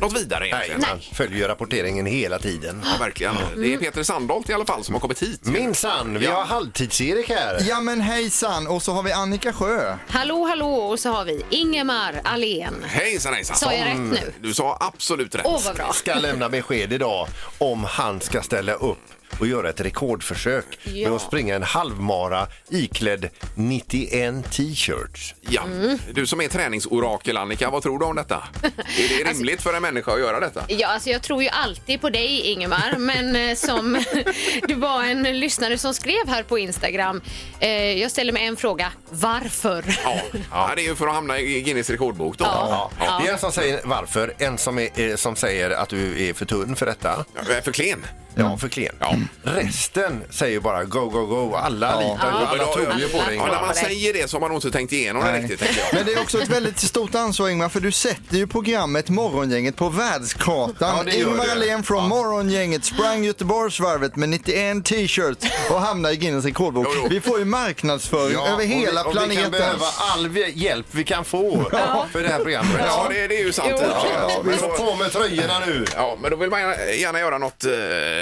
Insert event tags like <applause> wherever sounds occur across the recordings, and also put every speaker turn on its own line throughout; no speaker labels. något vidare egentligen.
Man följer rapporteringen hela tiden.
Ja, verkligen. Det är
Mm.
Peter Sandholt i alla fall som har kommit hit.
Mm. Minsann, vi
Ja.
har halvtids-Erik här.
Ja men hejsan och så har vi Annika Sjö.
Hallå, hallå, och så har vi Ingemar Ahlén.
Hejsan, hejsan.
Sa jag rätt nu?
Du sa absolut rätt.
Åh, vad bra.
Ska lämna besked idag om han ska ställa upp och göra ett rekordförsök med
Ja.
att springa en halvmara iklädd 91 t-shirts.
Ja.
Mm.
Du som är träningsorakel, Annika, vad tror du om detta?
<laughs>
Är det rimligt för en människa att göra detta?
Alltså- Ja, alltså jag tror ju alltid på dig
<laughs>
Ingemar, men eh, som <laughs> det var en lyssnare som skrev här på Instagram. Eh, jag ställer mig en fråga. Varför? <laughs>
Ja. ja, det är ju för att hamna i Guinness rekordbok då.
Ja.
Det är en som säger varför, en som, är, eh, som säger att du är för tunn för detta.
Jag är för klen.
Ja, för klen.
Mm. Ja.
Resten säger bara go, go, go. Alla litar ju, alla
Ja.
tror ju på dig.
Ja, när man
dig.
säger det så har man nog inte tänkt igenom det riktigt, tänker jag.
Men det är också ett väldigt stort ansvar Ingmar för du sätter ju programmet Morgongänget på världskartan.
Ja, det gör
Ingmar
du.
Ahlén från Morgongänget sprang Göteborgsvarvet med 91 t-shirts och hamnade i Guinness rekordbok.
Jo, jo.
Vi får ju marknadsföring
Ja,
över
och vi-
hela
och Vi kan
planeten.
behöva all vi- hjälp vi kan få för det här programmet.
Ja, det, det är ju sant. i och för sig.
Ja,
men,
vi får på med tröjorna nu.
ja, men då vill man gärna, gärna göra något eh,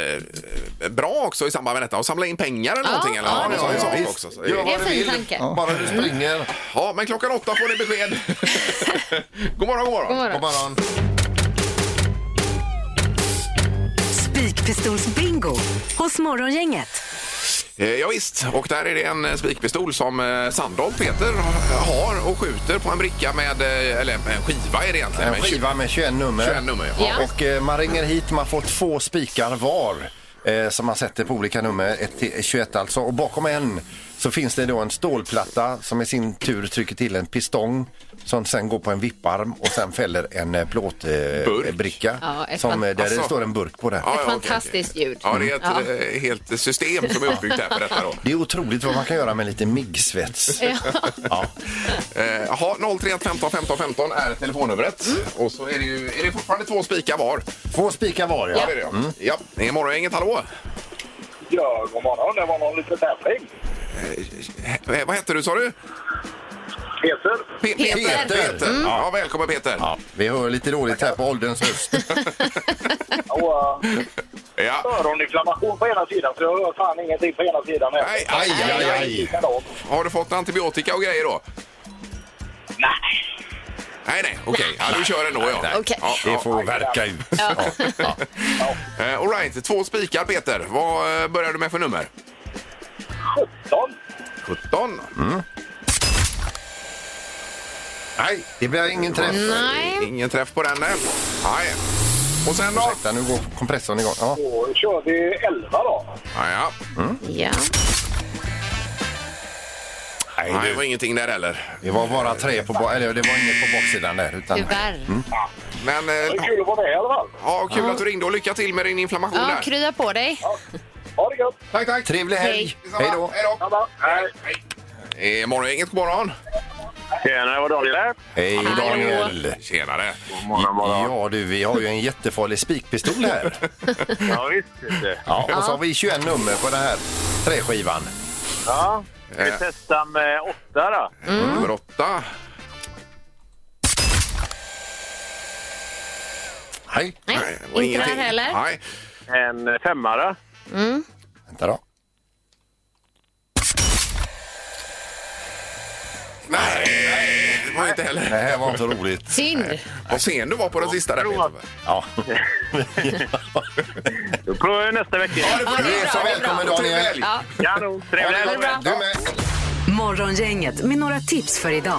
bra också i samband med detta och samla in pengar eller någonting. Eller?
ja,
Ja,
det
ja,
Ja,
ja,
visst.
också. Så det-
Gör
Det
vad
är
du
en fin
vill,
tanke.
bara du springer.
ja, men klockan åtta får ni besked. god morgon, god morgon.
God morgon.
God morgon.
Spikpistolsbingo hos Morgongänget.
Eh, ja, visst, och där är det en eh, spikpistol som eh, Sandholt Peter har och skjuter på en bricka med, eh, eller en skiva är det egentligen.
En
med
skiva med 21 nummer.
21 nummer, ja.
Ja.
Och eh, man ringer hit, man får två spikar var eh, som man sätter på olika nummer, ett till- 21 alltså. Och bakom en så finns det då en stålplatta som i sin tur trycker till en pistong som sen går på en vipparm och sen fäller en eh,
Burk.
plåtbricka
Ja, ett
som, eh, där
Alltså.
det står en burk på det.
Ja, ja, okej,
fantastiskt
okej.
ljud.
Ja, det är ett
Ja.
eh, helt system som är uppbyggt här för detta då.
Det är otroligt vad man kan göra med lite miggsvets. Ja.
Eh, Jaha, 031 15 15 15 är telefonnumret.
Mm.
Och så är det ju är det fortfarande två spikar var.
Två spikar var, ja. Mm.
Ja, det är det. ja. Ja, det är morgongänget. Hallå!
Ja, god morgon. Det var någon liten tävling.
Eh, vad hette du, sa du?
Peter.
Pe-
Peter.
Peter. Ja, välkommen Peter. Ja.
Mm. Ja, vi hör lite dåligt här på ålderns höst.
Och, uh, öroninflammation på ena sidan så jag hör fan ingenting på ena sidan. heller.
Nej, aj,
aj, aj.
Jag är likadan.
Har du fått antibiotika och grejer då?
Nej.
Nej, nej, okej. Ja, du kör ändå, ja.
Okej.
ja,
<laughs> Det
ja.
får verka ut. Ja. Ja.
Eh, All right, två spikar Peter. Vad eh, börjar du med för nummer?
17.
17.
Mm. Nej, det blir ingen träff.
Nej.
Ingen träff på den. nej. Nej. Och sen då?
Ursäkta, nu går kompressorn igång. Ja.
Då kör vi 11 då.
Ja, ja.
Ja.
Nej, det var ingenting där heller.
Det var bara tre på, bo- eller, det var inget på baksidan där. Utan,
Tyvärr.
Mm. Men eh,
Det är kul att vara med i alla fall.
ja, kul att du ringde och lycka till med din inflammation
Ja,
där.
krya på dig.
Ha det gött.
Tack, tack.
Trevlig helg! Hej
Hej
då!
då.
Tjabba. Hej.
Eh, Morgongänget, god morgon.
Tjena, det var Daniel här.
Hej Daniel!
Tjenare.
Ja du, vi har ju en jättefarlig spikpistol här.
Ja, visst. Inte.
Ja, och så har vi 21 nummer på den här träskivan.
Ja.
vi Eh. Mm.
testar med 8 då.
Nummer åtta.
Hej!
Nej,
Nej, det var
inte där
ingenting.
heller.
Nej.
En femma då.
Vänta då.
Nej, det var inte
Det
heller.
här var inte roligt.
Synd.
Vad sen du var på den sista där, Peter.
Ja.
Då provar vi nästa vecka.
Ja, det får
Du
du.
är så välkommen
Trevlig
Daniel!
helg.
Ja.
Ja, då. Trevlig helg.
Du med!
Morgongänget med några tips för idag.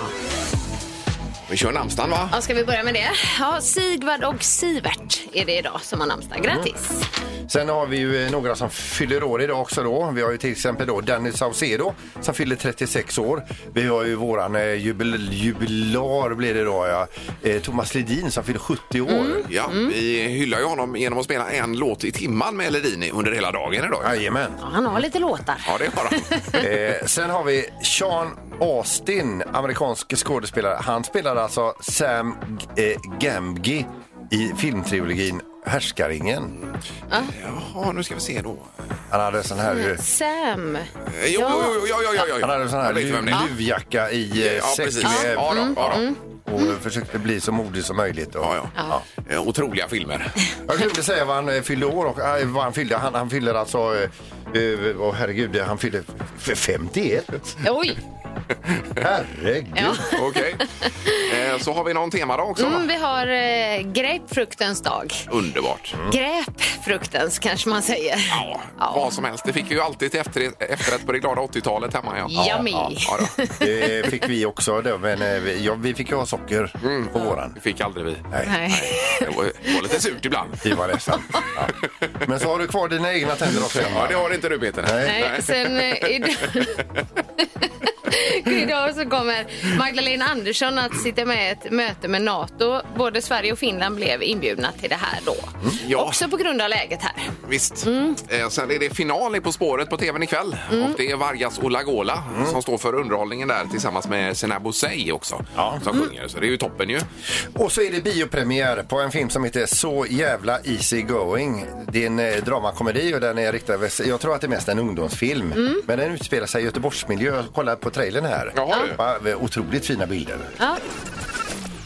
Vi kör namnsdagen, va? Mm.
Ja, ska vi börja med det? Ja, Sigvard och Sivert är det idag som har namnsdag. Grattis!
Sen har vi ju eh, några som fyller år idag också då. Vi har ju till exempel då Danny Saucedo som fyller 36 år. Vi har ju våran eh, jubil, jubilar blir det då ja. Eh, Thomas Ledin som fyller 70 år.
Ja, vi hyllar ju honom genom att spela en låt i timman med Ledini under hela dagen idag.
Jajamän.
Ja, han har lite låtar.
Ja, det har han.
Eh, sen har vi Sean Austin, amerikansk skådespelare. Han spelar alltså Sam eh, Gamgee i filmtrilogin Härskaringen.
Jaha, nu ska vi se då.
Han hade sån här...
Sam.
Eh, Jo, jo, jo, jo, jo, jo, jo.
Han hade en sån här
Jag vet vem det är.
lu- luvjacka i eh,
Ja, precis.
säckväv
Ja, då, ja,
Mm.
då.
och försökte bli så modig som möjligt. Och,
Ja, ja. Eh, Otroliga filmer.
Jag glömde säga vad han eh, fyllde år och äh, vad han fyllde. Han, han fyller alltså, eh, eh, åh herregud, han fyllde f- 51.
Oj!
Herregud.
Ja.
Okej. Eh, Så har vi någon temadag också.
Mm, vi har eh, grapefruktens dag.
Underbart.
Mm. Gräpfruktens kanske man säger.
Ja, vad som helst. Det fick vi ju alltid till efter, efterrätt på det glada 80-talet hemma. Ja.
Yummy.
Ja, ja, då.
Det Eh, fick vi också då, men eh, vi, ja, vi fick ju ha socker på våran.
Det fick aldrig vi.
Mm. Nej.
Det var, det var lite surt ibland.
Vi var ledsna. Ja. Men så har du kvar dina egna tänder också
Ja,
Emma.
det har inte du Peter.
Nej, sen eh, idag... <laughs> idag så kommer Magdalena Andersson att sitta med i ett möte med NATO. Både Sverige och Finland blev inbjudna till det här då.
Ja.
Också på grund av läget här.
Visst.
Mm.
Eh, sen är det final i På spåret på tvn ikväll. Och det är Vargas Olagola
Mm.
som står för underhållningen där tillsammans med Senabo Sey också. Som
Mm.
sjunger. Så det är ju toppen ju.
Och så är det biopremiär på en film som heter Så jävla easy going. Det är en eh, dramakomedi och den är riktad, väs- jag tror att det är mest en ungdomsfilm. Men den utspelar sig i Göteborgsmiljö. Kolla på trailern här.
Jaha, du.
Va- Otroligt fina bilder.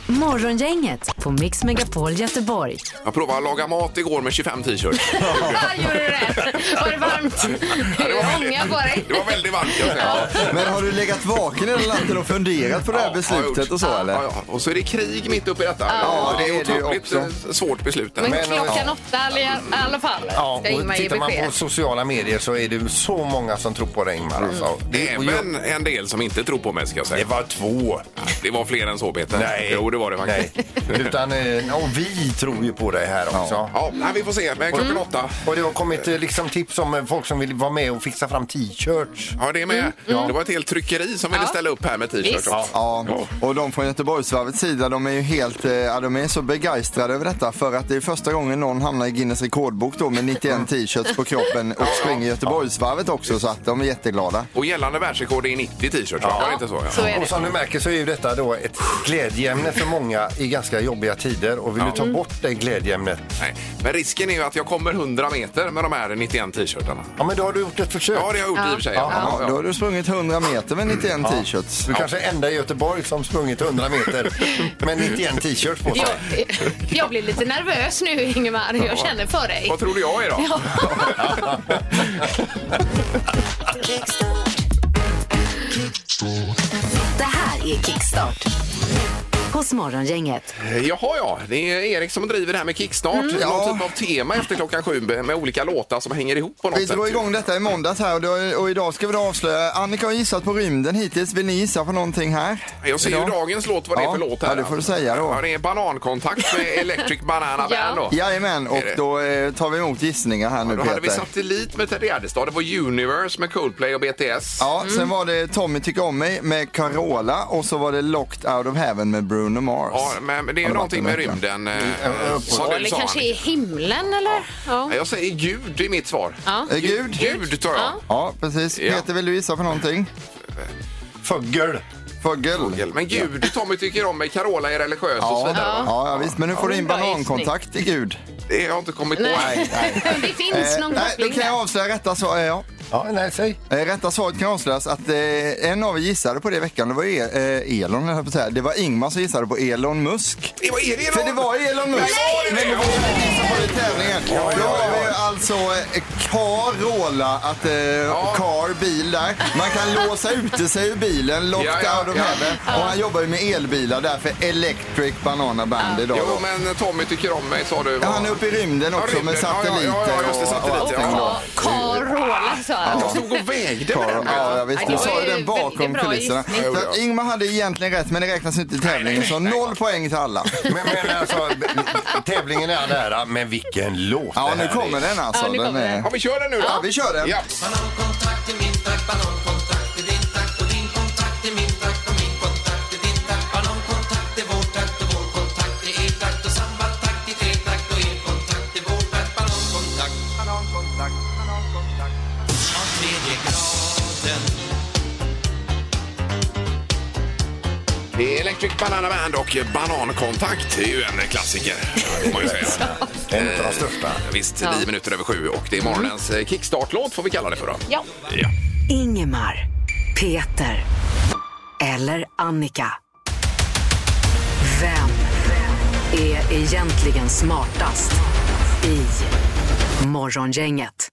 Morgongänget på Mix Megapol Göteborg.
Jag provade att laga mat igår med 25
<laughs>
t-shirts.
<laughs> Ah, gjorde du det? Var det varmt?
det, var väldigt-
Ånga på dig.
det var väldigt varmt. Jag säger.
Men har du legat vaken hela natten och funderat på det här
Ja, har jag gjort.
beslutet och så eller?
Ja, ja. Och så är det krig mitt uppe i detta.
Ja,
det är
det är det ju
otroligt eh,
också.
svårt beslut.
Men,
Men-
klockan åtta i alla- alla fall
Ja,
ska Ingmar
och
ge
tittar man
besked.
på sociala medier så är det så många som tror på det Ingmar. Alltså.
Mm.
Det, och jag,
Även en del som inte tror på mig ska jag
det
säga.
var två.
Det var fler än så Peter. Jo, det var det
Nej.
<laughs>
faktiskt.
Utan, eh, och vi tror ju på det här också.
<laughs> Ja, nej, vi får se. Men
Mm.
klockan åtta.
Och det har kommit eh, liksom tips om eh, folk som vill vara med och fixa fram t-shirts.
Ja, det är med.
Mm.
Det var ett helt tryckeri som ville
Ja.
ställa upp här med t-shirts
Visst.
också.
Ja, och de från Göteborgsvarvets sida de är ju helt, eh, ja, de är så begeistrade över detta för att det är första gången någon hamnar i Guinness rekordbok då med
Mm.
91 t-shirts på kroppen och springer Göteborgsvarvet också så att de är jätteglada.
Och gällande världsrekord är 90 t-shirts. Ja. Var det inte så? Ja.
Så är
Och
det.
som du märker så är ju detta då ett glädjeämne för många i ganska jobbiga tider. Och vill du
Mm.
ta bort det glädjeämnet,
Nej. Men risken är ju att jag kommer 100 meter med de här 91 t-shirtarna.
ja men då har du gjort ett försök.
Ja, det har jag gjort i och för sig.
Ja,
Ja,
då
ja.
har du sprungit 100 meter med 91 t-shirts.
Du kanske är enda i Göteborg som sprungit 100 meter
<laughs>
med 91 t-shirts på sig.
Jag, jag blir lite nervös nu, Ingemar. Jag känner för dig.
Vad tror du jag är då?
Ja.
Det här är Kickstart hos Morgongänget.
<laughs> Jaha, ja. Det är Erik som driver det här med Kickstart. Någon
Mm. Ja.
typ av tema efter klockan sju med olika låtar som hänger ihop på något
Vi
sätt.
drog igång detta i måndags här och, då, och idag ska vi då avslöja. Annika har gissat på rymden hittills. Vill ni gissa på någonting här?
Jag ser ju
idag?
dagens låt, vad det är
Ja,
för låt här.
ja, det får du säga då.
Ja, det är Banankontakt
<laughs>
med Electric Banana
Ja.
Band då.
Jajamän, och
Är det?
då eh, tar vi emot gissningar här nu
Då hade vi
Peter.
Satellit med Ted Gärdestad, det var Universe med Coldplay och BTS.
Ja,
Mm.
sen var det Tommy tycker om mig med Carola och så var det Locked out of heaven med Bruno Mars.
Ja, men det är
Har
ju
det
någonting med
varit en vecka?
rymden. Eh, som
Ja,
du
Eller
sa,
kanske i
Annika.
himlen, eller? Ja.
Jag säger Gud i mitt svar.
Ja.
Eh, Gud?
Gud tar jag.
Ja, precis.
Ja.
Peter, vill du gissa på någonting?
Fuggel.
Fågel?
Men Gud, Tommy tycker om mig, Carola är religiös och så
Ja.
vidare. va?
Ja, ja, visst. Men nu får du in
Bra gissning.
banankontakt i Gud.
Det har jag inte kommit på.
Nej. <laughs> Det finns någon
Eh, nej, då
koppling
kan
där.
jag avslöja rätta svar. Eh, ja.
Ja, nej, säg.
Eh, Rätta svaret kan avslöjas att eh, en av er gissade på det i veckan. Det var e- eh, Elon, höll jag på att säga. Det var Ingmar som gissade på Elon Musk.
Det var Elon!
För det var Elon Musk. Men det var ju ni som var i tävlingen. Då har vi ju alltså eh, Carola, att eh, car, bil där. Man kan låsa ute sig ur bilen, locked
Ja, ja,
out of
ja.
heaven. Och han jobbar ju med elbilar, därför Electric Banana Band idag.
Jo, men Tommy tycker om mig sa du.
Ja, Han är uppe i rymden också
Ja, rymden.
med satelliter
Ja, ja, ja, just det,
och- och
satellit,
allting
ja.
då.
Ja, Carola sa Ja.
Jag stod och vägde med den.
Ja, jag visste.
det
Du
var
sa ju
ju
den bakom
väldigt bra
kulisserna.
gissning.
Ja, jo,
Så att
ja.
Ingmar hade egentligen rätt, men det räknas inte i tävlingen,
nej,
så
nej.
noll poäng till alla.
Men, men alltså, tävlingen är all ära, men vilken låt
Ja,
det
nu
här
kommer
är.
den alltså.
Ja, nu
Den
kommer
är...
Ja, vi kör den nu då.
Ja, vi kör den.
Ja. Det är Electric Banana Band och Banankontakt. Det är ju en klassiker, får man ju säga.
En utav de största.
Visst, nio minuter över sju och det är morgonens eh, kickstartlåt får vi kalla det för då.
Ja.
ja.
Ingemar, Peter eller Annika. Vem är egentligen smartast i Morgongänget?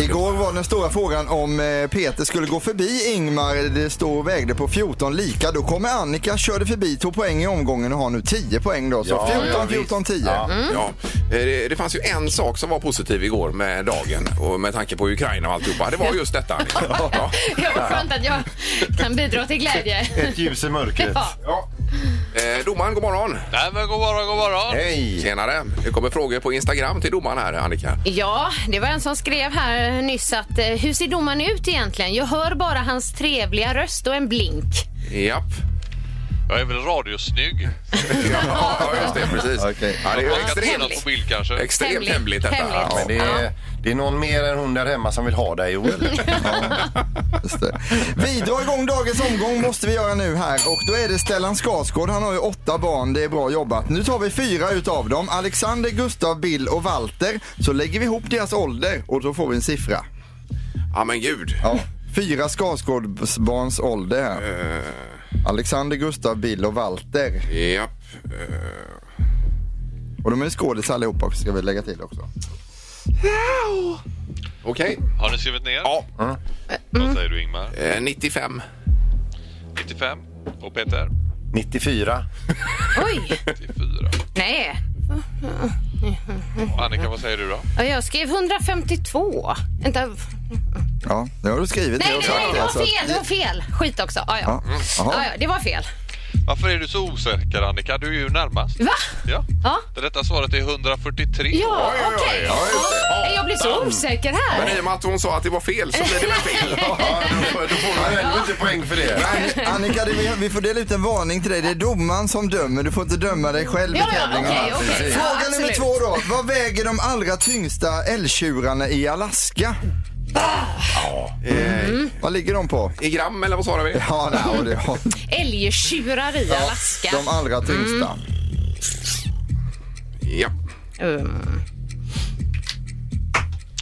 Igår var den stora frågan om eh, Peter skulle gå förbi Ingmar. Det stod och vägde på 14 lika. Då kommer Annika, körde förbi, tog poäng i omgången och har nu 10 poäng då. Så
Ja,
14,
ja, visst.
14, 10.
Ja.
Ja, eh, det, det fanns ju en sak som var positiv igår med dagen och med tanke på Ukraina och alltihopa. Det var just detta. Annika. Ja.
Ja, vad skönt att jag kan bidra till glädje.
Ett ljus i mörkret.
Ja.
Ja. Eh, domaren, god morgon.
Nej men god morgon, god morgon.
Hej!
Tjenare. Det kommer frågor på Instagram till domaren här, Annika.
Ja, det var en som skrev här nyss att eh, hur ser domaren ut egentligen? Jag hör bara hans trevliga röst och en blink.
Japp.
Jag är väl radiosnygg.
Ja, just det. Precis.
Okej.
Ja, det är ju
Man kan kolla
extremt,
på bild kanske.
extremt
Hemligt.
hemligt detta.
Hemligt.
Ja.
Men det är, det är någon mer än hon där hemma som vill ha dig, Joel.
<laughs>
Just det. Vi drar igång dagens omgång måste vi göra nu här och då är det Stellan Skarsgård. Han har ju åtta barn, det är bra jobbat. Nu tar vi fyra utav dem, Alexander, Gustav, Bill och Walter. Så lägger vi ihop deras ålder och då får vi en siffra.
ja, men gud.
Ja. Fyra Skarsgårdsbarns ålder här.
Eh.
Alexander, Gustav, Bill och Walter.
Japp.
Och de är skådisar allihopa också, ska vi lägga till också.
Okej.
Har ni skrivit ner?
Ja,
Mm.
Vad säger du Ingmar?
eh, 95.
95. Och Peter?
94.
Oj,
94.
nej.
Och Annika, vad säger du då?
Ja, Jag skrev 152. Vänta. Nej,
Ja, nu har du skrivit det
nej,
och
nej,
sagt
det var
det. så att-
fel. Det var fel. Skit också. Ja, ja.
Alltså, Ja, jaha.
Ja, ja, det var fel.
Varför är du så osäker Annika? Du är ju närmast.
Va?
Ja.
Ja.
Det rätta svaret är 143.
Ja,
oj, oj.
okej.
Ja, just det.
Ja, Jag blir så osäker här.
Men i och med att hon sa att det var fel så blev det väl fel.
Ja, då, får- då får man ändå inte poäng för det.
An- Annika, det- vi- vi får dela ut en varning till dig. Det är domaren som dömer. Du får inte döma dig själv
Ja,
i
ja,
tävlingen.
okej, okej. Ja,
Fråga nummer
absolut.
två då. Vad väger de allra tyngsta älgtjurarna i Alaska?
Ah.
Eh,
Vad ligger de på?
I gram eller vad sa vi?
Ja,
<laughs>
nej, och det har
Älgtjurar i Alaska.
de allra tyngsta.
Ja.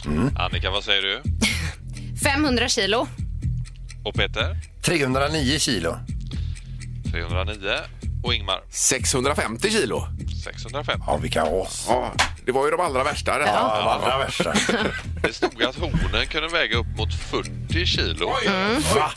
Mm.
Annika, vad säger du?
500 kilo.
Och Peter?
309 kilo.
309. Och Ingmar?
650 kilo.
605.
Ja, vilka as.
Ja, det var ju de allra värsta. detta.
Ja, det var allra värsta.
Det stod att hornen kunde väga upp mot 40 kilo.
Va?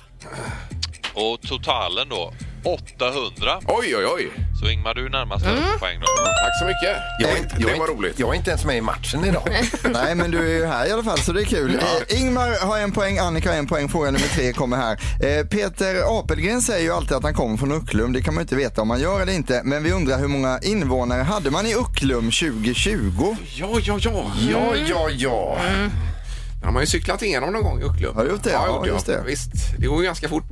Och totalen då 800.
Oj, oj, oj.
Så Ingmar, du är närmast
Mm.
på poäng då.
Tack så mycket.
Jag är inte, jag
det
är
var
inte-
roligt.
Jag är inte ens med i matchen idag.
Nej, men du är ju här i alla fall, så det är kul. Eh, Ingmar har en poäng, Annika har en poäng. Fråga nummer tre kommer här. Eh, Peter Apelgren säger ju alltid att han kommer från Ucklum. Det kan man ju inte veta om man gör eller inte. Men vi undrar hur många invånare hade man i Ucklum 2020?
Ja, ja, ja.
Ja, ja, ja.
Ja, man har ju cyklat igenom någon gång i Ucklum.
Har du gjort det?
Ja, jag har gjort
Ja,
det,
just
ja.
det.
Visst, det går ju ganska fort.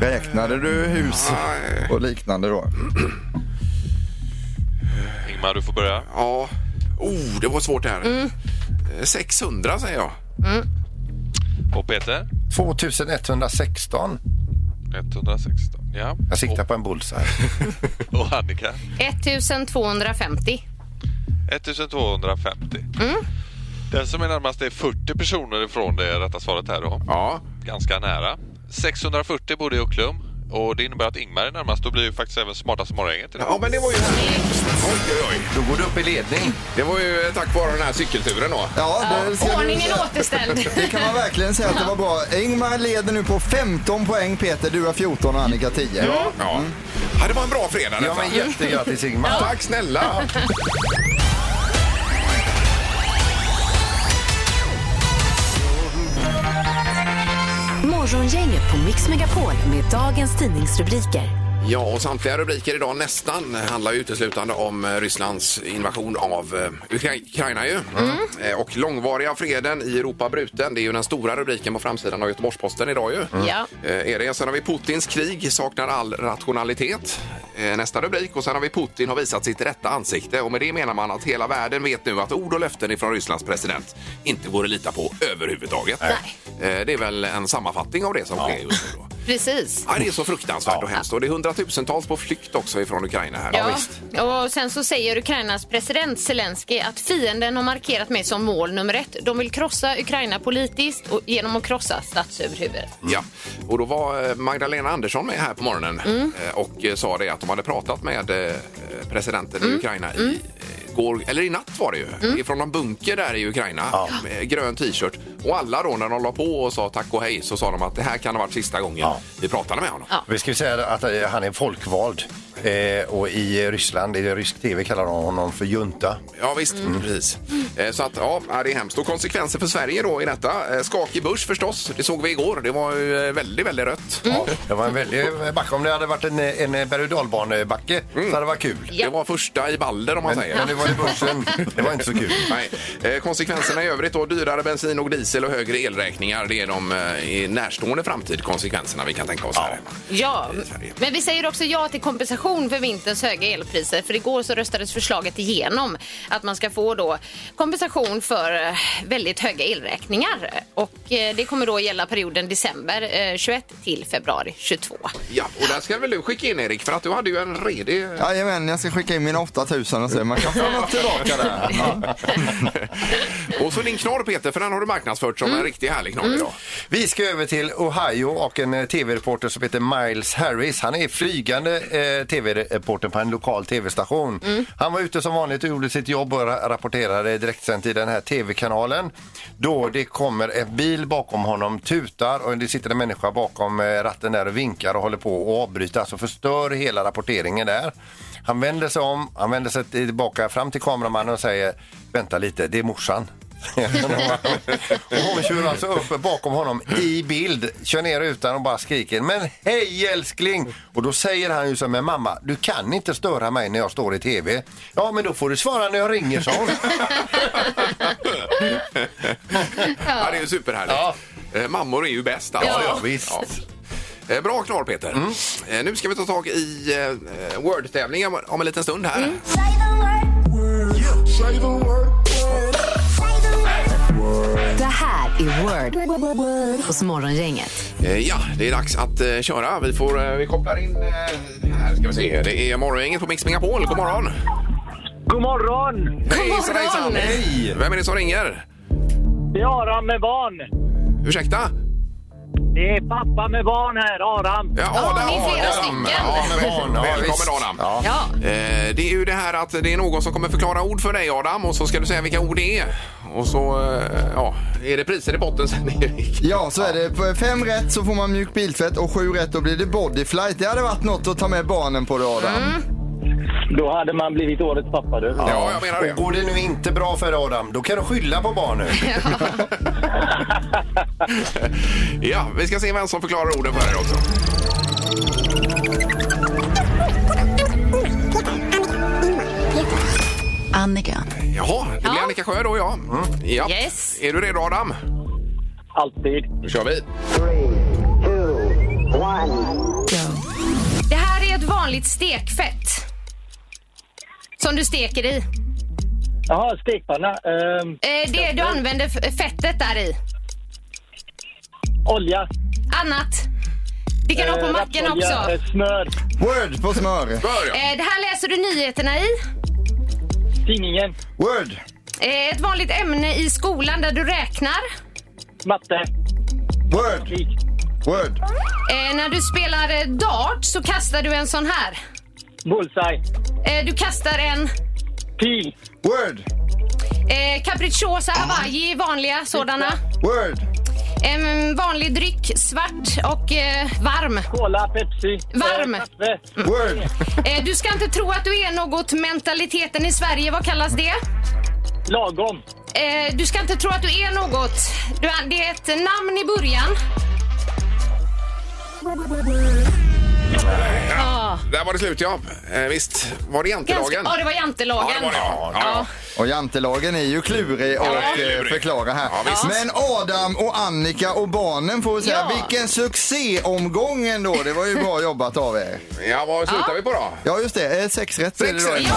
Räknade du hus
Nej.
och liknande då?
Ingmar, du får börja.
Ja. Oh, det var svårt det här. Eh, 600 säger jag.
Och Peter?
2116.
116. Ja.
Jag siktar på en bullseye.
Och, <laughs> och Annika?
1250.
1250.
Mm.
Den som är närmast är 40 personer ifrån det rätta svaret här då.
Ja.
Ganska nära. 640 bodde i Ucklum. Och det innebär att Ingmar är närmast. Då blir ju faktiskt även smartast morgongänget idag.
Ja, men det var ju... Oj, oj, oj.
Då går du upp i ledning.
Det var ju eh, tack vare den här cykelturen då.
Ja, det ska du...
Ordningen återställd.
Det kan man verkligen säga att det var bra. Ingmar leder nu på 15 poäng, Peter. Du har 14 och Annika 10.
Ja. ja, det var en bra fredag
Ja,
detta.
men jättegrattis Ingmar.
Tack snälla.
Morgongänget på Mix Megapol med dagens tidningsrubriker.
Ja, och samtliga rubriker idag nästan handlar ju uteslutande om eh, Rysslands invasion av eh, Ukra- Ukraina ju. Eh, Och långvariga freden i Europa bruten, det är ju den stora rubriken på framsidan av Göteborgs-Posten idag ju.
Mm. Ja.
Eh, Är det. Sen har vi Putins krig saknar all rationalitet. Eh, Nästa rubrik. Och sen har vi Putin har visat sitt rätta ansikte. Och med det menar man att hela världen vet nu att ord och löften ifrån Rysslands president inte går att lita på överhuvudtaget. Eh, Det är väl en sammanfattning av det som sker just nu då.
Precis.
Ja, det är så fruktansvärt och hemskt. Och det är hundratusentals på flykt också ifrån Ukraina här.
och sen så säger Ukrainas president Zelensky att fienden har markerat mig som mål nummer ett. De vill krossa Ukraina politiskt och genom att krossa statsöverhuvudet.
Ja, och då var eh, Magdalena Andersson med här på morgonen eh, och eh, sa det att de hade pratat med eh, presidenten i Ukraina i eh, går, eller i natt var det ju, ifrån någon bunker där i Ukraina, med grön t-shirt. Och alla då när de la på och sa tack och hej så sa de att det här kan ha varit sista gången
Ja.
vi pratade med honom.
Ja.
Vi ska ju säga att eh, han är folkvald. Eh, och i Ryssland, i rysk tv kallar de honom för junta.
Ja visst, precis. Eh, Så att, ja, det är hemskt. Och konsekvenser för Sverige då i detta? Eh, Skakig börs förstås, det såg vi igår. Det var ju eh, väldigt, väldigt rött.
Mm.
Ja.
Det var en väldig eh, backe. Om det hade varit en, eh, en berg och dalbanebacke så hade det varit kul.
Det var första i balder om man
Men,
säger.
men det var i börsen. Det var inte så kul.
Nej. Eh, konsekvenserna i övrigt då, dyrare bensin och diesel och högre elräkningar. Det är de eh, i närstående framtid konsekvenserna vi kan tänka oss här.
Ja,
I Sverige.
men vi säger också ja till kompensation för vinterns höga elpriser. För igår så röstades förslaget igenom att man ska få då kompensation för eh, väldigt höga elräkningar. Och eh, det kommer då gälla perioden december eh, 21 till februari 22.
Ja, och där ska väl du skicka in Erik för att du hade ju en redig...
Jajamän, jag ska skicka in mina 8000 och se. Man kan få något tillbaka där. Ja.
och så din knorr Peter, för den har du marknadsfört som en riktigt härlig knorr idag.
Vi ska över till Ohio och en eh, tv-reporter som heter Miles Harris. Han är flygande eh, tv-reporter på en lokal tv-station. Han var ute som vanligt och gjorde sitt jobb och ra- rapporterade direktsänt i den här tv-kanalen. Då det kommer en bil bakom honom, tutar och det sitter en människa bakom eh, ratten där och vinkar och håller på att avbryta, alltså förstör hela rapporteringen där. Han vänder sig om, han vänder sig tillbaka fram till kameramannen och säger vänta lite, det är morsan. <laughs> Och hon kör alltså upp bakom honom i bild, kör ner utan och bara skriker men hej älskling! Och då säger han ju så men mamma du kan inte störa mig när jag står i tv. Ja men då får du svara när jag ringer sa
<laughs>
hon. Mm,
Ja, det är ju superhärligt.
Ja.
Eh, mammor är ju bäst alltså.
Ja, ja, visst.
Eh, Bra knorr Peter. Eh, Nu ska vi ta tag i eh, Word-tävlingen om- om en liten stund här.
Det här är Word hos Morgongänget.
Eh, Ja, det är dags att eh, köra. Vi, får, eh, vi kopplar in... Eh, här ska vi se. Det är morgongänget på Mix Megapol. God morgon!
God morgon!
God
morgon!
Hej! Vem är det som ringer?
Det är Aram med barn.
Ursäkta?
Det är pappa med barn här, Aram.
Ja,
Ja, ni är flera
Adam.
stycken.
Ja, men,
Barn, ja, visst.
välkommen Adam!
Ja.
Ja,
Eh, Det är ju det här att det är någon som kommer förklara ord för dig Adam och så ska du säga vilka ord det är. Och så eh, ja, är det priser i botten sen <laughs> Erik.
ja, så är det. På Fem rätt så får man mjuk biltvätt och sju rätt då blir det bodyflight. Det hade varit något att ta med barnen på det Adam.
Mm.
Då hade man blivit årets pappa du.
Ja, jag menar det.
Och går det nu inte bra för dig, Adam då kan du skylla på barnen.
<laughs> Ja, vi ska se vem som förklarar orden för dig också.
Annika.
Jaha, det blir
Ja.
Annika Sjö då ja. Mm. ja.
Yes.
Är du redo Adam?
Alltid.
Då kör vi.
det här är ett vanligt stekfett. Som du steker i.
Jaha, stekpanna. Ehm,
Eh, Det du använder f- fettet där i.
olja.
Annat. Det kan du ha på
eh,
macken
rapsolja,
också.
eh, smör.
Word på smör.
Bör jag?
Eh, Det här läser du nyheterna i.
Tidningen.
Word.
Eh, Ett vanligt ämne i skolan där du räknar.
Matte.
Word.
Krig.
Word.
Eh, när du spelar eh, dart så kastar du en sån här.
Bullseye.
Eh, du kastar en
Pil.
Word.
eh, capricciosa hawaii, vanliga sådana.
Word.
En vanlig dryck, svart och eh, varm.
Cola. Pepsi.
Varm.
Eh, kaffe.
Word.
Eh, du ska inte tro att du är något mentaliteten i Sverige, vad kallas det?
Lagom.
Eh, du ska inte tro att du är något. Du är, det är ett namn i början.
Där var det slut, ja. Eh, visst, var det
Ganska,
jantelagen?
ja, det var jantelagen.
Ja, det var det. Ja, ja, ja.
Ja.
Och jantelagen är ju klurig att eh,
klurig.
förklara här.
Ja, visst.
Men Adam och Annika och barnen får vi säga,
Ja.
vilken succéomgång ändå. Det var ju bra jobbat av er.
Ja, vad slutar vi på då?
Ja just det, eh, sex rätt blir det då.
Sex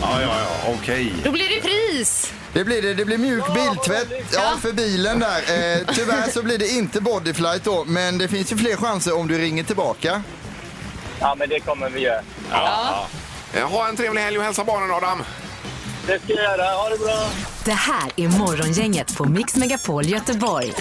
Ja, ja, ja, okej.
Då blir det pris.
Det blir det. Det blir mjuk biltvätt ja, för bilen där. Eh, tyvärr så blir det inte bodyflight då, men det finns ju fler chanser om du ringer tillbaka.
Ja, men det kommer vi göra.
Eh, Ha en trevlig helg och hälsa barnen, Adam.
Det ska jag göra. Ha det bra!
Det här är Morgongänget på Mix Megapol Göteborg.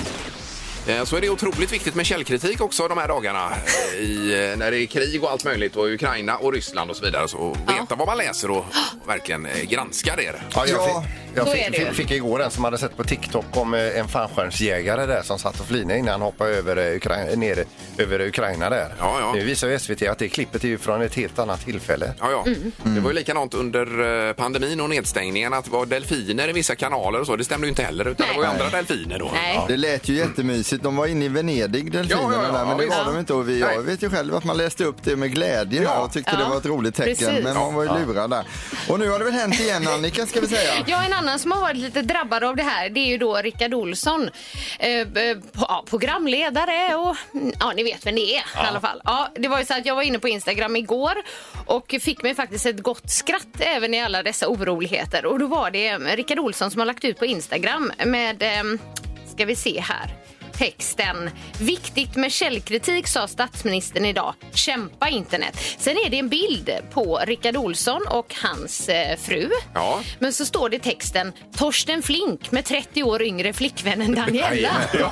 Eh, Så är det otroligt viktigt med källkritik också de här dagarna. eh, I, eh, när det är krig och allt möjligt och Ukraina och Ryssland och så vidare. Så veta vad man läser och och verkligen eh, granska det.
Ja, jag
Ja,
fick, jag
så
fick,
är det ju.
fick, fick igår en som hade sett på TikTok om eh, en fallskärmsjägare där som satt och flinade innan han hoppade över, eh, Ukra- ner över Ukraina där.
Ja, ja.
Nu visar ju SVT att det klippet är ju från ett helt annat tillfälle.
Ja, ja.
Mm.
Det var ju likadant under eh, pandemin och nedstängningen att det var delfiner i vissa kanaler och så. Det stämde ju inte heller utan det var ju andra delfiner då.
Nej.
Ja.
Det lät ju jättemysigt. De var inne i Venedig, delfinerna
Ja, ja, ja,
där, men det
visst.
var de inte. Och vi, jag
Nej.
vet ju själv att man läste upp det med glädje här och tyckte
Ja.
det var ett roligt tecken.
Precis.
Men man var ju lurad där. Och nu har det väl hänt igen Annika, ska vi säga.
Ja, en annan som har varit lite drabbad av det här det är ju då Rickard Olsson. Eh, eh, po- ja, programledare och ja, ni vet vem det är i alla fall. Ja, det var ju så att jag var inne på Instagram igår och fick mig faktiskt ett gott skratt även i alla dessa oroligheter. Och då var det eh, Rickard Olsson som har lagt ut på Instagram med, ehm, ska vi se här, texten. Viktigt med källkritik sa statsministern idag. Kämpa internet. Sen är det en bild på Rickard Olsson och hans eh, fru.
Ja.
Men så står det i texten Torsten Flink med 30 år yngre flickvännen Daniela.
<laughs>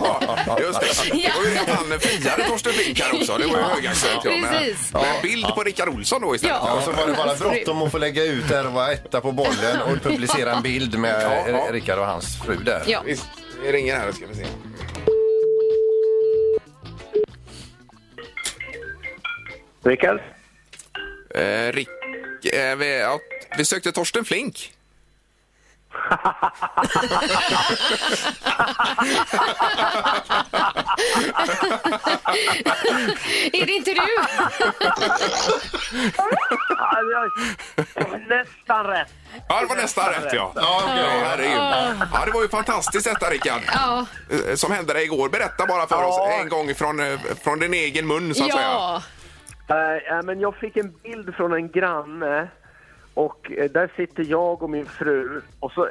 Ja, just det. Det var ju det att han friade Torsten Flink här också. Det var ju
Ja,
högaktuellt. ja, med-
precis.
Med bild på Rickard Olsson då istället.
Ja.
Och så var det bara
Alltså, det-
bråttom att få lägga ut där och vara etta på bollen och publicera en bild med
Ja, ja.
eh, Rickard och hans fru där.
Ja. <laughs>
Visst, vi ringer här ska vi se.
Rickard?
Eh, Rick, eh, vi, ja, vi sökte Torsten Flink.
Är det inte <laughs> du?
Ja, jag... Nästan rätt.
Ja, det var nästan rätt ja. Ja, herregud. ja, det var ju fantastiskt detta Rickard.
Ja.
Eh, Som hände dig igår. Berätta bara för oss en gång från, eh, från din egen mun så att säga.
Ja.
Eh, ja, men jag fick en bild från en granne och eh, där sitter jag och min fru och så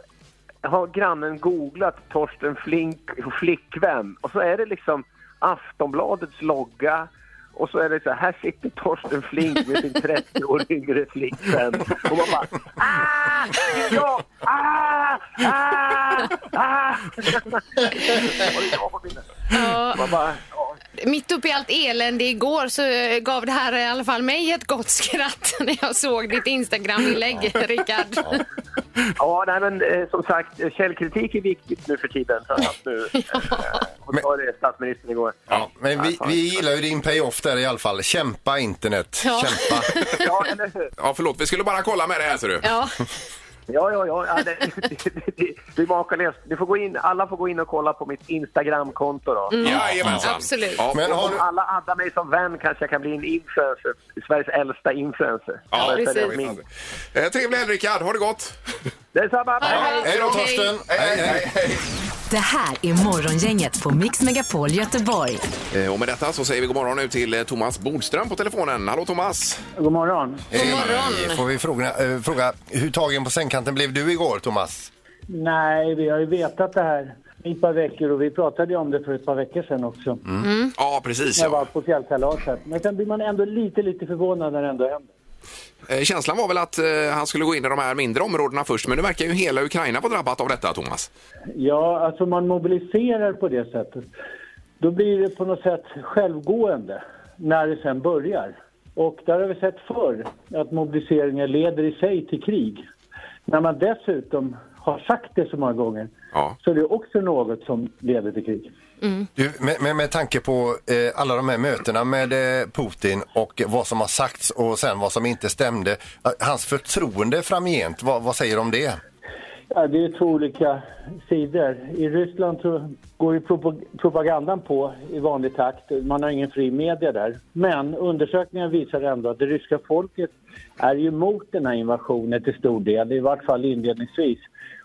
har grannen googlat Torsten Flink och flickvän och så är det liksom Aftonbladets logga och så är det så här, här sitter Torsten Flink med sin 30 år yngre flickvän. Och man bara ah, det är jag! Ah, ah, ah. Och det var på bilden. Man bara, ja,
Mitt uppe i allt elände igår så eh, gav det här i alla fall mig ett gott skratt <laughs> när jag såg ditt Instagram-inlägg, Rickard.
Ja, nej, men eh, som sagt, eh, källkritik är viktigt nu för tiden. För att nu, eh, och så var det statsministern igår.
Ja, men vi, vi gillar ju din payoff där i alla fall. Kämpa internet,
Ja. <laughs>
kämpa.
Ja, eller hur?
Ja, förlåt. Vi skulle bara kolla med det här ser du.
Ja.
Ja, ja, ja. ja det, <laughs> det, det, det, det är makalöst. Ni får gå in, alla får gå in och kolla på mitt Instagramkonto då.
Jajamensan.
Mm. Absolut.
Ja,
Men har
Om
du,
alla addar mig som vän kanske jag kan bli en influencer. Sveriges äldsta influencer.
ja,
Eller så är det
precis.
min.
Eh, Trevlig helg Rickard. Ha det gott.
Detsamma!
hej då Torsten! Hej, hej.
Det här är Morgongänget på Mix Megapol Göteborg.
Eh, Och med detta så säger vi god morgon nu till eh, Thomas Bodström på telefonen. Hallå Thomas!
God morgon.
God morgon. Får vi fråga, eh, fråga, hur tagen på sängkanten blev du igår, Thomas?
Nej, vi har ju vetat det här i ett par veckor och vi pratade ju om det för ett par veckor sedan också.
Ja, precis.
När jag var
Ja.
på fjällkalaset. Men sen blir man ändå lite, lite förvånad när det ändå händer.
Eh, Känslan var väl att eh, han skulle gå in i de här mindre områdena först, men nu verkar ju hela Ukraina vara drabbat av detta, Thomas.
Ja, alltså man mobiliserar på det sättet. Då blir det på något sätt självgående när det sen börjar. Och där har vi sett förr att mobiliseringar leder i sig till krig. När man dessutom har sagt det så många gånger
Ja.
så är det också något som leder till krig.
Du, med, med, med tanke på eh, alla de här mötena med eh, Putin och vad som har sagts och sen vad som inte stämde. eh, Hans förtroende framgent, vad, vad säger du om det?
Ja, det är två olika sidor. I Ryssland så går ju propo- propagandan på i vanlig takt. Man har ingen fri media där. Men undersökningar visar ändå att det ryska folket är ju emot den här invasionen till stor del, i vart fall inledningsvis.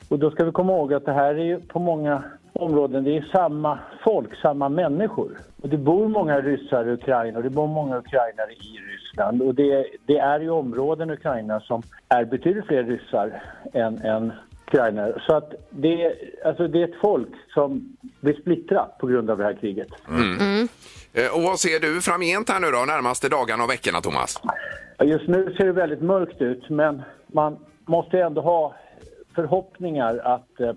Och då ska vi komma ihåg att det här är ju på många områden, det är samma folk, samma människor. Och det bor många ryssar i Ukraina och det bor många ukrainare i Ryssland. Och det, det är ju områden i Ukraina som är betydligt fler ryssar än, än ukrainare. Så att det, alltså det är ett folk som blir splittrat på grund av det här kriget.
Eh, Och vad ser du framgent här nu då, närmaste dagarna och veckorna Thomas?
Ja, Just nu ser det väldigt mörkt ut, men man måste ändå ha förhoppningar att eh,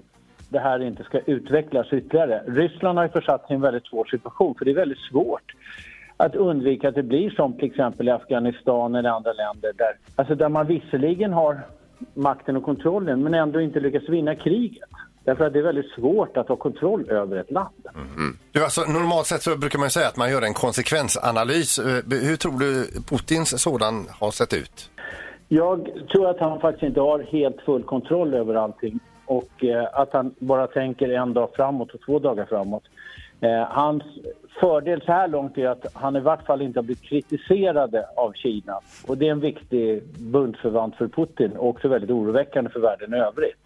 det här inte ska utvecklas ytterligare. Ryssland har ju försatt sig i en väldigt svår situation, för det är väldigt svårt att undvika att det blir som till exempel i Afghanistan eller andra länder där, alltså där man visserligen har makten och kontrollen men ändå inte lyckas vinna kriget. Därför att det är väldigt svårt att ha kontroll över ett land.
Du, alltså, normalt sett så brukar man ju säga att man gör en konsekvensanalys. Eh, Hur tror du Putins sådan har sett ut?
Jag tror att han faktiskt inte har helt full kontroll över allting och eh, att han bara tänker en dag framåt och två dagar framåt. Eh, hans fördel så här långt är att han i vart fall inte har blivit kritiserade av Kina och det är en viktig bundsförvant för Putin och också väldigt oroväckande för världen i övrigt.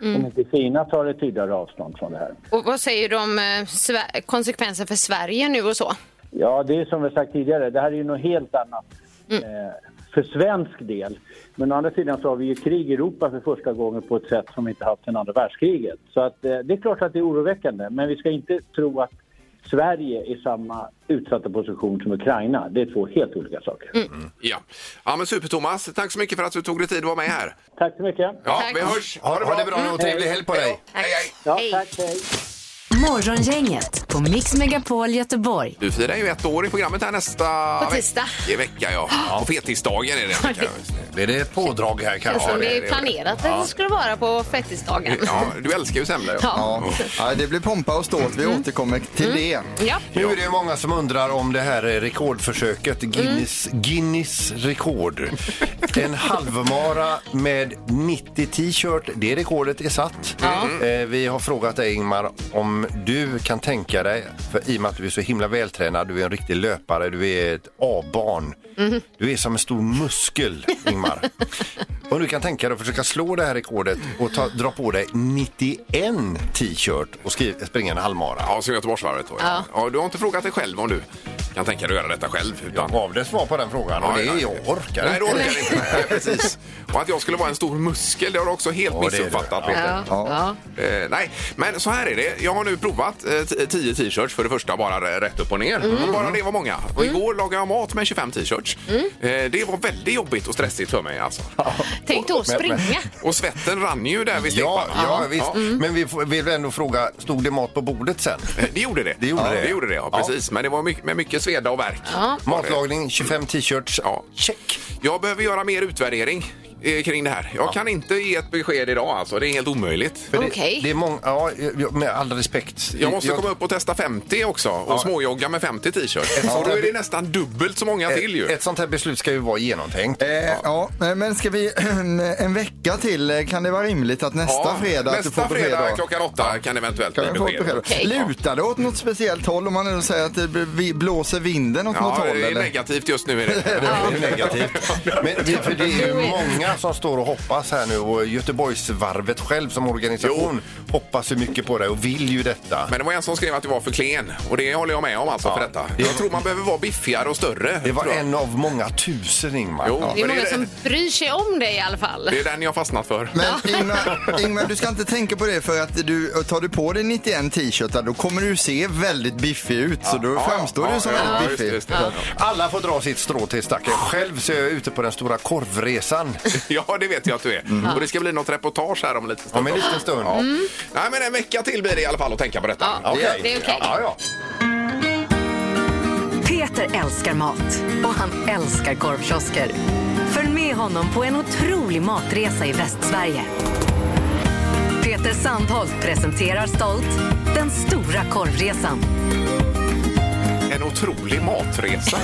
Om inte Kina tar ett tydligare avstånd från det här.
Och vad säger du om eh, Sve- konsekvenser för Sverige nu och så?
Ja, det är som vi sagt tidigare, det här är ju något helt annat eh, för svensk del. Men å andra sidan så har vi ju krig i Europa för första gången på ett sätt som vi inte haft sedan andra världskriget. Så att, eh, det är klart att det är oroväckande, men vi ska inte tro att Sverige är i samma utsatta position som Ukraina. Det är två helt olika saker.
Ja, ja men super Thomas. Tack så mycket för att du tog dig tid att vara med här.
Tack så mycket.
Ja,
Tack.
vi hörs.
Ha det bra och trevlig helg på dig.
Hej, hej.
Ja,
Hej.
tack, hej.
Morgongänget på Mix Megapol Göteborg.
Du firar ju ett år i programmet här nästa
På tisdag.
veck- i vecka. Ja. På fettisdagen är det. kan jag säga.
Blir det pådrag här
Känns
kanske?
som Alltså, det är planerat att det skulle vara på fettisdagen.
Ja, du älskar ju semla. Ja.
Ja.
Ja, ja, det blir pompa och ståt. Vi
Mm.
återkommer till det.
ja.
Nu är det ju många som undrar om det här är rekordförsöket, Guinness, Guinness rekord. En halvmara med 90 t-shirt, det rekordet är satt. Eh, vi har frågat dig Ingmar om du kan tänka dig, för i och med att du är så himla vältränad, du är en riktig löpare, du är ett A-barn. Du är som en stor muskel, Ingmar. Om du kan tänka dig att försöka slå det här rekordet och ta, dra på dig 91 t-shirt och skriva, springa en halvmara.
Ja, så Göteborgsvarvet då. Ja. Ja, du har inte frågat dig själv om du kan tänka dig att göra detta själv. Utan...
gav det svar på den frågan och det är jag
Nej,
orkar
det
inte.
orkar jag inte. Nej,
<laughs>
precis. Och att jag skulle vara en stor muskel, det har du också helt
Ja, det är det.
missuppfattat,
Ja.
Peter.
Ja. Ja.
Eh, nej, men så här är det. Jag har nu provat 10 t-shirts för det första bara rätt upp och ner. Och bara det var många. Och igår lagade jag mat med 25 t-shirts. Eh, det var väldigt jobbigt och stressigt för mig alltså.
Tänk då att springa.
Och svetten rann ju där vid
Ja,
stekpannan.
ja, visst.
Ja.
Men vi får- vill ändå fråga, stod det mat på bordet sen?
Eh, Det gjorde det.
Det gjorde
ja,
det.
det, gjorde det ja,
Ja.
precis. Men det var mycket, med mycket sveda och värk.
Matlagning, 25 t-shirts.
Ja.
Check!
Jag behöver göra mer utvärdering eh, kring det här. Jag kan inte ge ett besked idag alltså. Det är helt omöjligt.
För det-
Okej.
Det är många, ja, jag- med all respekt.
Jag måste komma upp och testa 50 också och småjogga med 50 t-shirts.
Ja.
Och då är det nästan dubbelt så många till ju.
Ett, ett sånt här beslut ska ju vara genomtänkt.
Eh, ja, men ska vi <clears throat> en vecka till? eh, Kan det vara rimligt att nästa
Ja,
fredag att
nästa
du får besked?
fredag
då?
klockan åtta kan det eventuellt
Kan
bli
vi få ett
besked.
besked?
Okej.
Lutar det åt något speciellt håll om man nu säger att det bl- vi- blåser vinden åt något
Ja,
håll?
det är
Eller?
negativt just nu. Är det.
Det är ju negativt. Men det, för det är ju många som står och hoppas här nu och Göteborgsvarvet själv som organisation hoppas ju mycket på det och vill ju detta.
Men det var en som skrev att du var för klen och det håller jag med om alltså för detta. Jag tror man behöver vara biffigare och större.
Det var
tror jag.
en av många tusen, Ingmar.
Jo,
Det är
men
många
det,
som bryr sig om dig i alla fall.
det är den jag har fastnat för.
Men Ingmar, Ingmar, du ska inte tänka på det för att du, tar du på dig 91 t-shirtar då kommer du se väldigt biffig ut. Så då framstår du som väldigt
just
biffig.
det, just det.
Alla får dra sitt strå till stacken. Själv så är jag ute på den stora korvresan
Ja, det vet jag att du är. Och det ska bli något reportage här om lite stund.
om en liten stund.
Ja. Nej, men en vecka till blir det i alla fall att tänka på detta.
Ja,
Okej.
Det är okej.
Ja, ja.
Peter älskar mat och han älskar korvkiosker. Följ med honom på en otrolig matresa i Västsverige. Peter Sandholt presenterar stolt Den stora korvresan.
En otrolig matresa.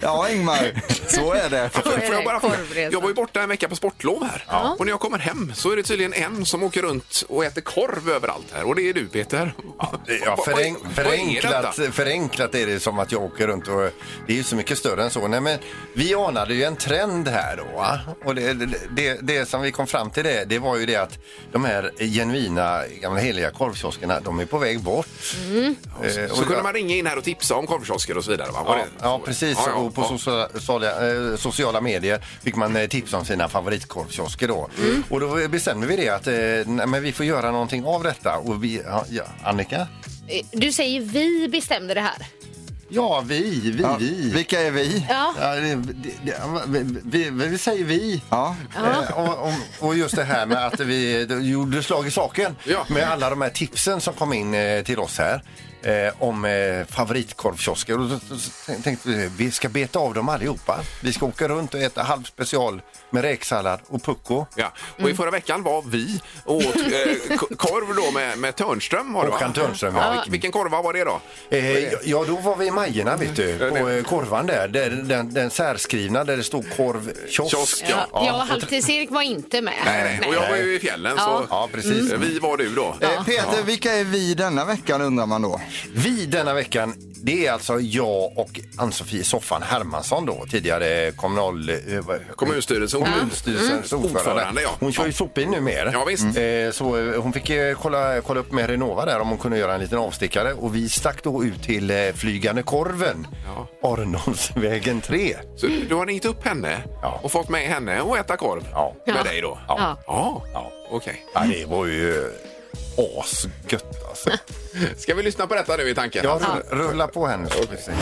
Ja, Ingmar, så
<laughs>
är det.
Får
är
jag,
det,
bara,
korvresa.
jag var ju borta en vecka på sportlov här. Och när jag kommer hem så är det tydligen en som åker runt och äter korv överallt här. Och det är du Peter.
Ja,
Vad-
förenk,
vad- vad är
förenklat,
detta?
förenklat är det som att jag åker runt och det är ju så mycket större än så. Nej, men vi anade ju en trend här då va? och det, det, det, det som vi kom fram till det, det var ju det att de här genuina gamla heliga korvkioskerna, de är på väg bort. Eh,
Mm. Så
och-
kunde man ringa in här och tipsa om korvkiosker och så vidare. Va? Var
Ja,
det-
ja, precis.
Ja, ja,
och på
ja.
Sociala, sociala, eh, sociala medier fick man eh, tips om sina favoritkorvkiosker. Då.
Mm.
Och då bestämde vi det att eh, nej, men vi får göra någonting av detta. Och vi, ja, ja, Annika?
Eh, Du säger vi bestämde det här.
Ja, vi, vi,
Ja,
vi.
vilka är vi?
Ja.
Ja, det, det, det, vi, vi, vi säger vi.
Ja.
Eh, och, och, och just det här med att vi gjorde slag i saken
Ja.
med alla de här tipsen som kom in eh, till oss här eh, om eh, favoritkorvkiosker. Och då, då, då tänkte vi vi ska beta av dem allihopa. Vi ska åka runt och äta halv special med räksallad och pucko.
Ja. Och
Mm.
i förra veckan var vi och åt eh, k- korv då med, med Törnström. Var det, va?
Håkan Törnström,
Ja,
ja.
vilken- Vilken korva var det då?
Eh, ja, ja, då var vi i Majorna,
Mm.
vet du, på eh, korvan där. där den, den särskrivna där det stod korvkiosk.
Kiosk,
Ja,
ja.
ja,
och-
halvtids-Erik var inte med.
Nej, nej. Och jag var ju i fjällen
Ja.
så
Ja, precis.
eh, vi var du då.
Eh, Peter, vilka är vi denna veckan undrar man då?
Vi denna veckan, det är alltså jag och Ann-Sofie Soffan Hermansson då, tidigare kommunal... eh, vad-
Kommunstyrelsen.
Kommunstyrelsens Mm. ordförande.
Ordförande, ja.
Hon kör ju sopbil numera.
Ja, visst.
Eh, Så eh, hon fick eh, kolla, kolla upp med Renova där om hon kunde göra en liten avstickare och vi stack då ut till eh, Flygande korven, Arnolfsvägen 3.
Så du har ringt upp henne
Ja.
och fått med henne och äta korv
Ja.
med
Ja.
dig då?
Ja.
Ja,
Ja.
okej.
Ja, det var ju eh, asgött <laughs> alltså.
Ska vi lyssna på detta nu i tanken?
Jag rull- rullar på henne. så får vi se.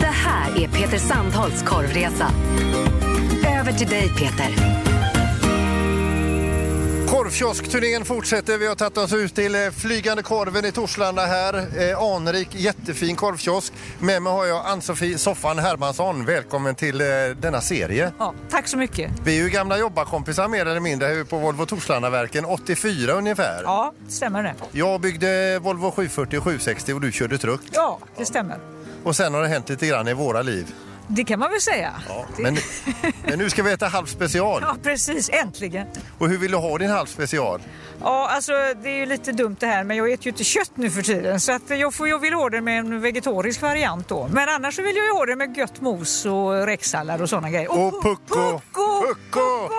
Det här är Peter Sandholts korvresa. Över till dig, Peter.
Korvkioskturnén fortsätter. Vi har tagit oss ut till eh, Flygande korven i Torslanda här. Eh, Anrik, jättefin korvkiosk. Med mig har jag Ann-Sofie Soffan Hermansson. Välkommen till eh, denna serie.
Ja, tack så mycket.
Vi är ju gamla jobbarkompisar mer eller mindre här på Volvo Torslandaverken, 84 ungefär.
Ja, det stämmer det?
Jag byggde Volvo 740 och 760 och du körde truck.
Ja, det stämmer.
Och sen har det hänt lite grann i våra liv.
Det kan man väl säga. Ja, det...
Men, men nu ska vi äta halv special.
ja precis. Äntligen.
Och hur vill du ha din halv special?
Ja, alltså det är ju lite dumt det här, men jag äter ju inte kött nu för tiden så att jag, får, jag vill ha den med en vegetarisk variant då. Men annars så vill jag ju ha den med gött mos och räksallad och sådana grejer.
Och pucko!
Pucko!
Pucko!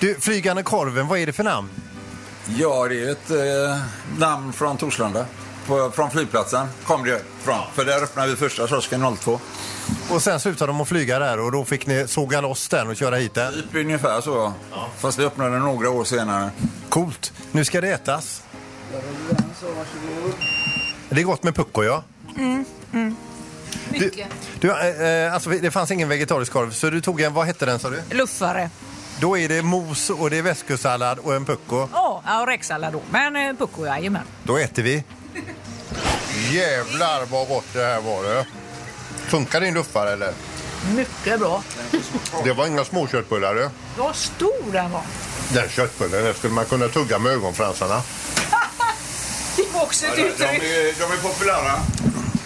Du, Flygande korven, vad är det för namn?
Ja, det är ett eh, namn från Torslanda. På, från flygplatsen kom det från. För där öppnade vi första kiosken 02.
Och sen slutade de att flyga där och då fick ni såga loss den och köra hit den.
Typ ungefär så, ja. Fast vi öppnade den några år senare.
Coolt. Nu ska det ätas. Det är gott med pucko, ja.
Mycket.
Du, eh, eh, alltså, det fanns ingen vegetarisk korv, så du tog en, vad hette den sa du?
Luffare.
Då är det mos och det är väskusallad och en pucko.
Ja, ja, och räksallad då. Men eh, pucko, jajamän.
Då äter vi. Jävlar vad gott det här var det. Funkar din luffare eller?
Mycket bra.
Det var inga små köttbullar du.
Vad stor den var.
Den köttbullen den skulle man kunna tugga med ögonfransarna.
Det var också ett uttryck.
är, de är populära.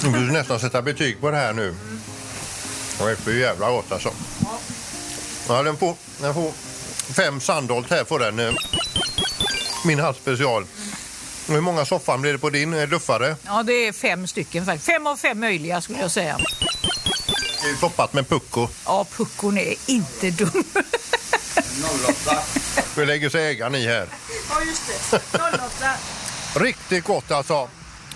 Du vill nästan sätta betyg på det här nu. Det är för jävla gott alltså. Ja, den får, den får fem Sandholt här får den. eh, Min halvspecial. Hur många soffan blir det på din eh, luffare?
Ja, det är fem stycken faktiskt. Fem av fem möjliga skulle jag säga.
Det är Toppat med pucko.
Ja, puckon är inte dum.
08.
<laughs> Vi lägger sig ägaren i här.
ja, just det. 08.
<laughs> Riktigt gott alltså.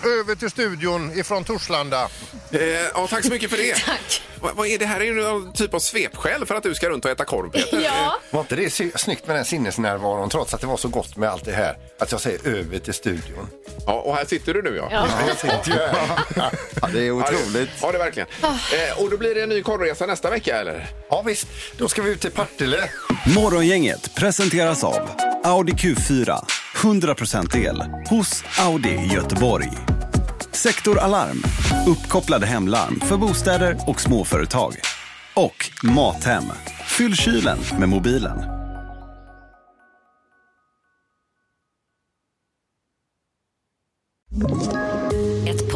Över till studion ifrån Torslanda.
Eh, ja, tack så mycket för
<laughs>
det.
Tack.
Vad, vad är det här? Är det någon typ av svepskäl för att du ska runt och äta korv, Peter?
Ja,
Var inte det sy- snyggt med den sinnesnärvaron trots att det var så gott med allt det här? Att jag säger över till studion.
Ja, och här sitter du nu, ja.
Ja.
Jag sitter ju här.
Ja, det är
Ja, det-
otroligt.
Ja, det är verkligen. Eh, och då blir det en ny korvresa nästa vecka, eller?
Ja visst, då ska vi ut till Partille.
Morgongänget presenteras av Audi Q4. 100% el hos Audi Göteborg. Sektor Alarm. Uppkopplade hemlarm för bostäder och småföretag. Och Mathem. Fyll kylen med mobilen.
Ett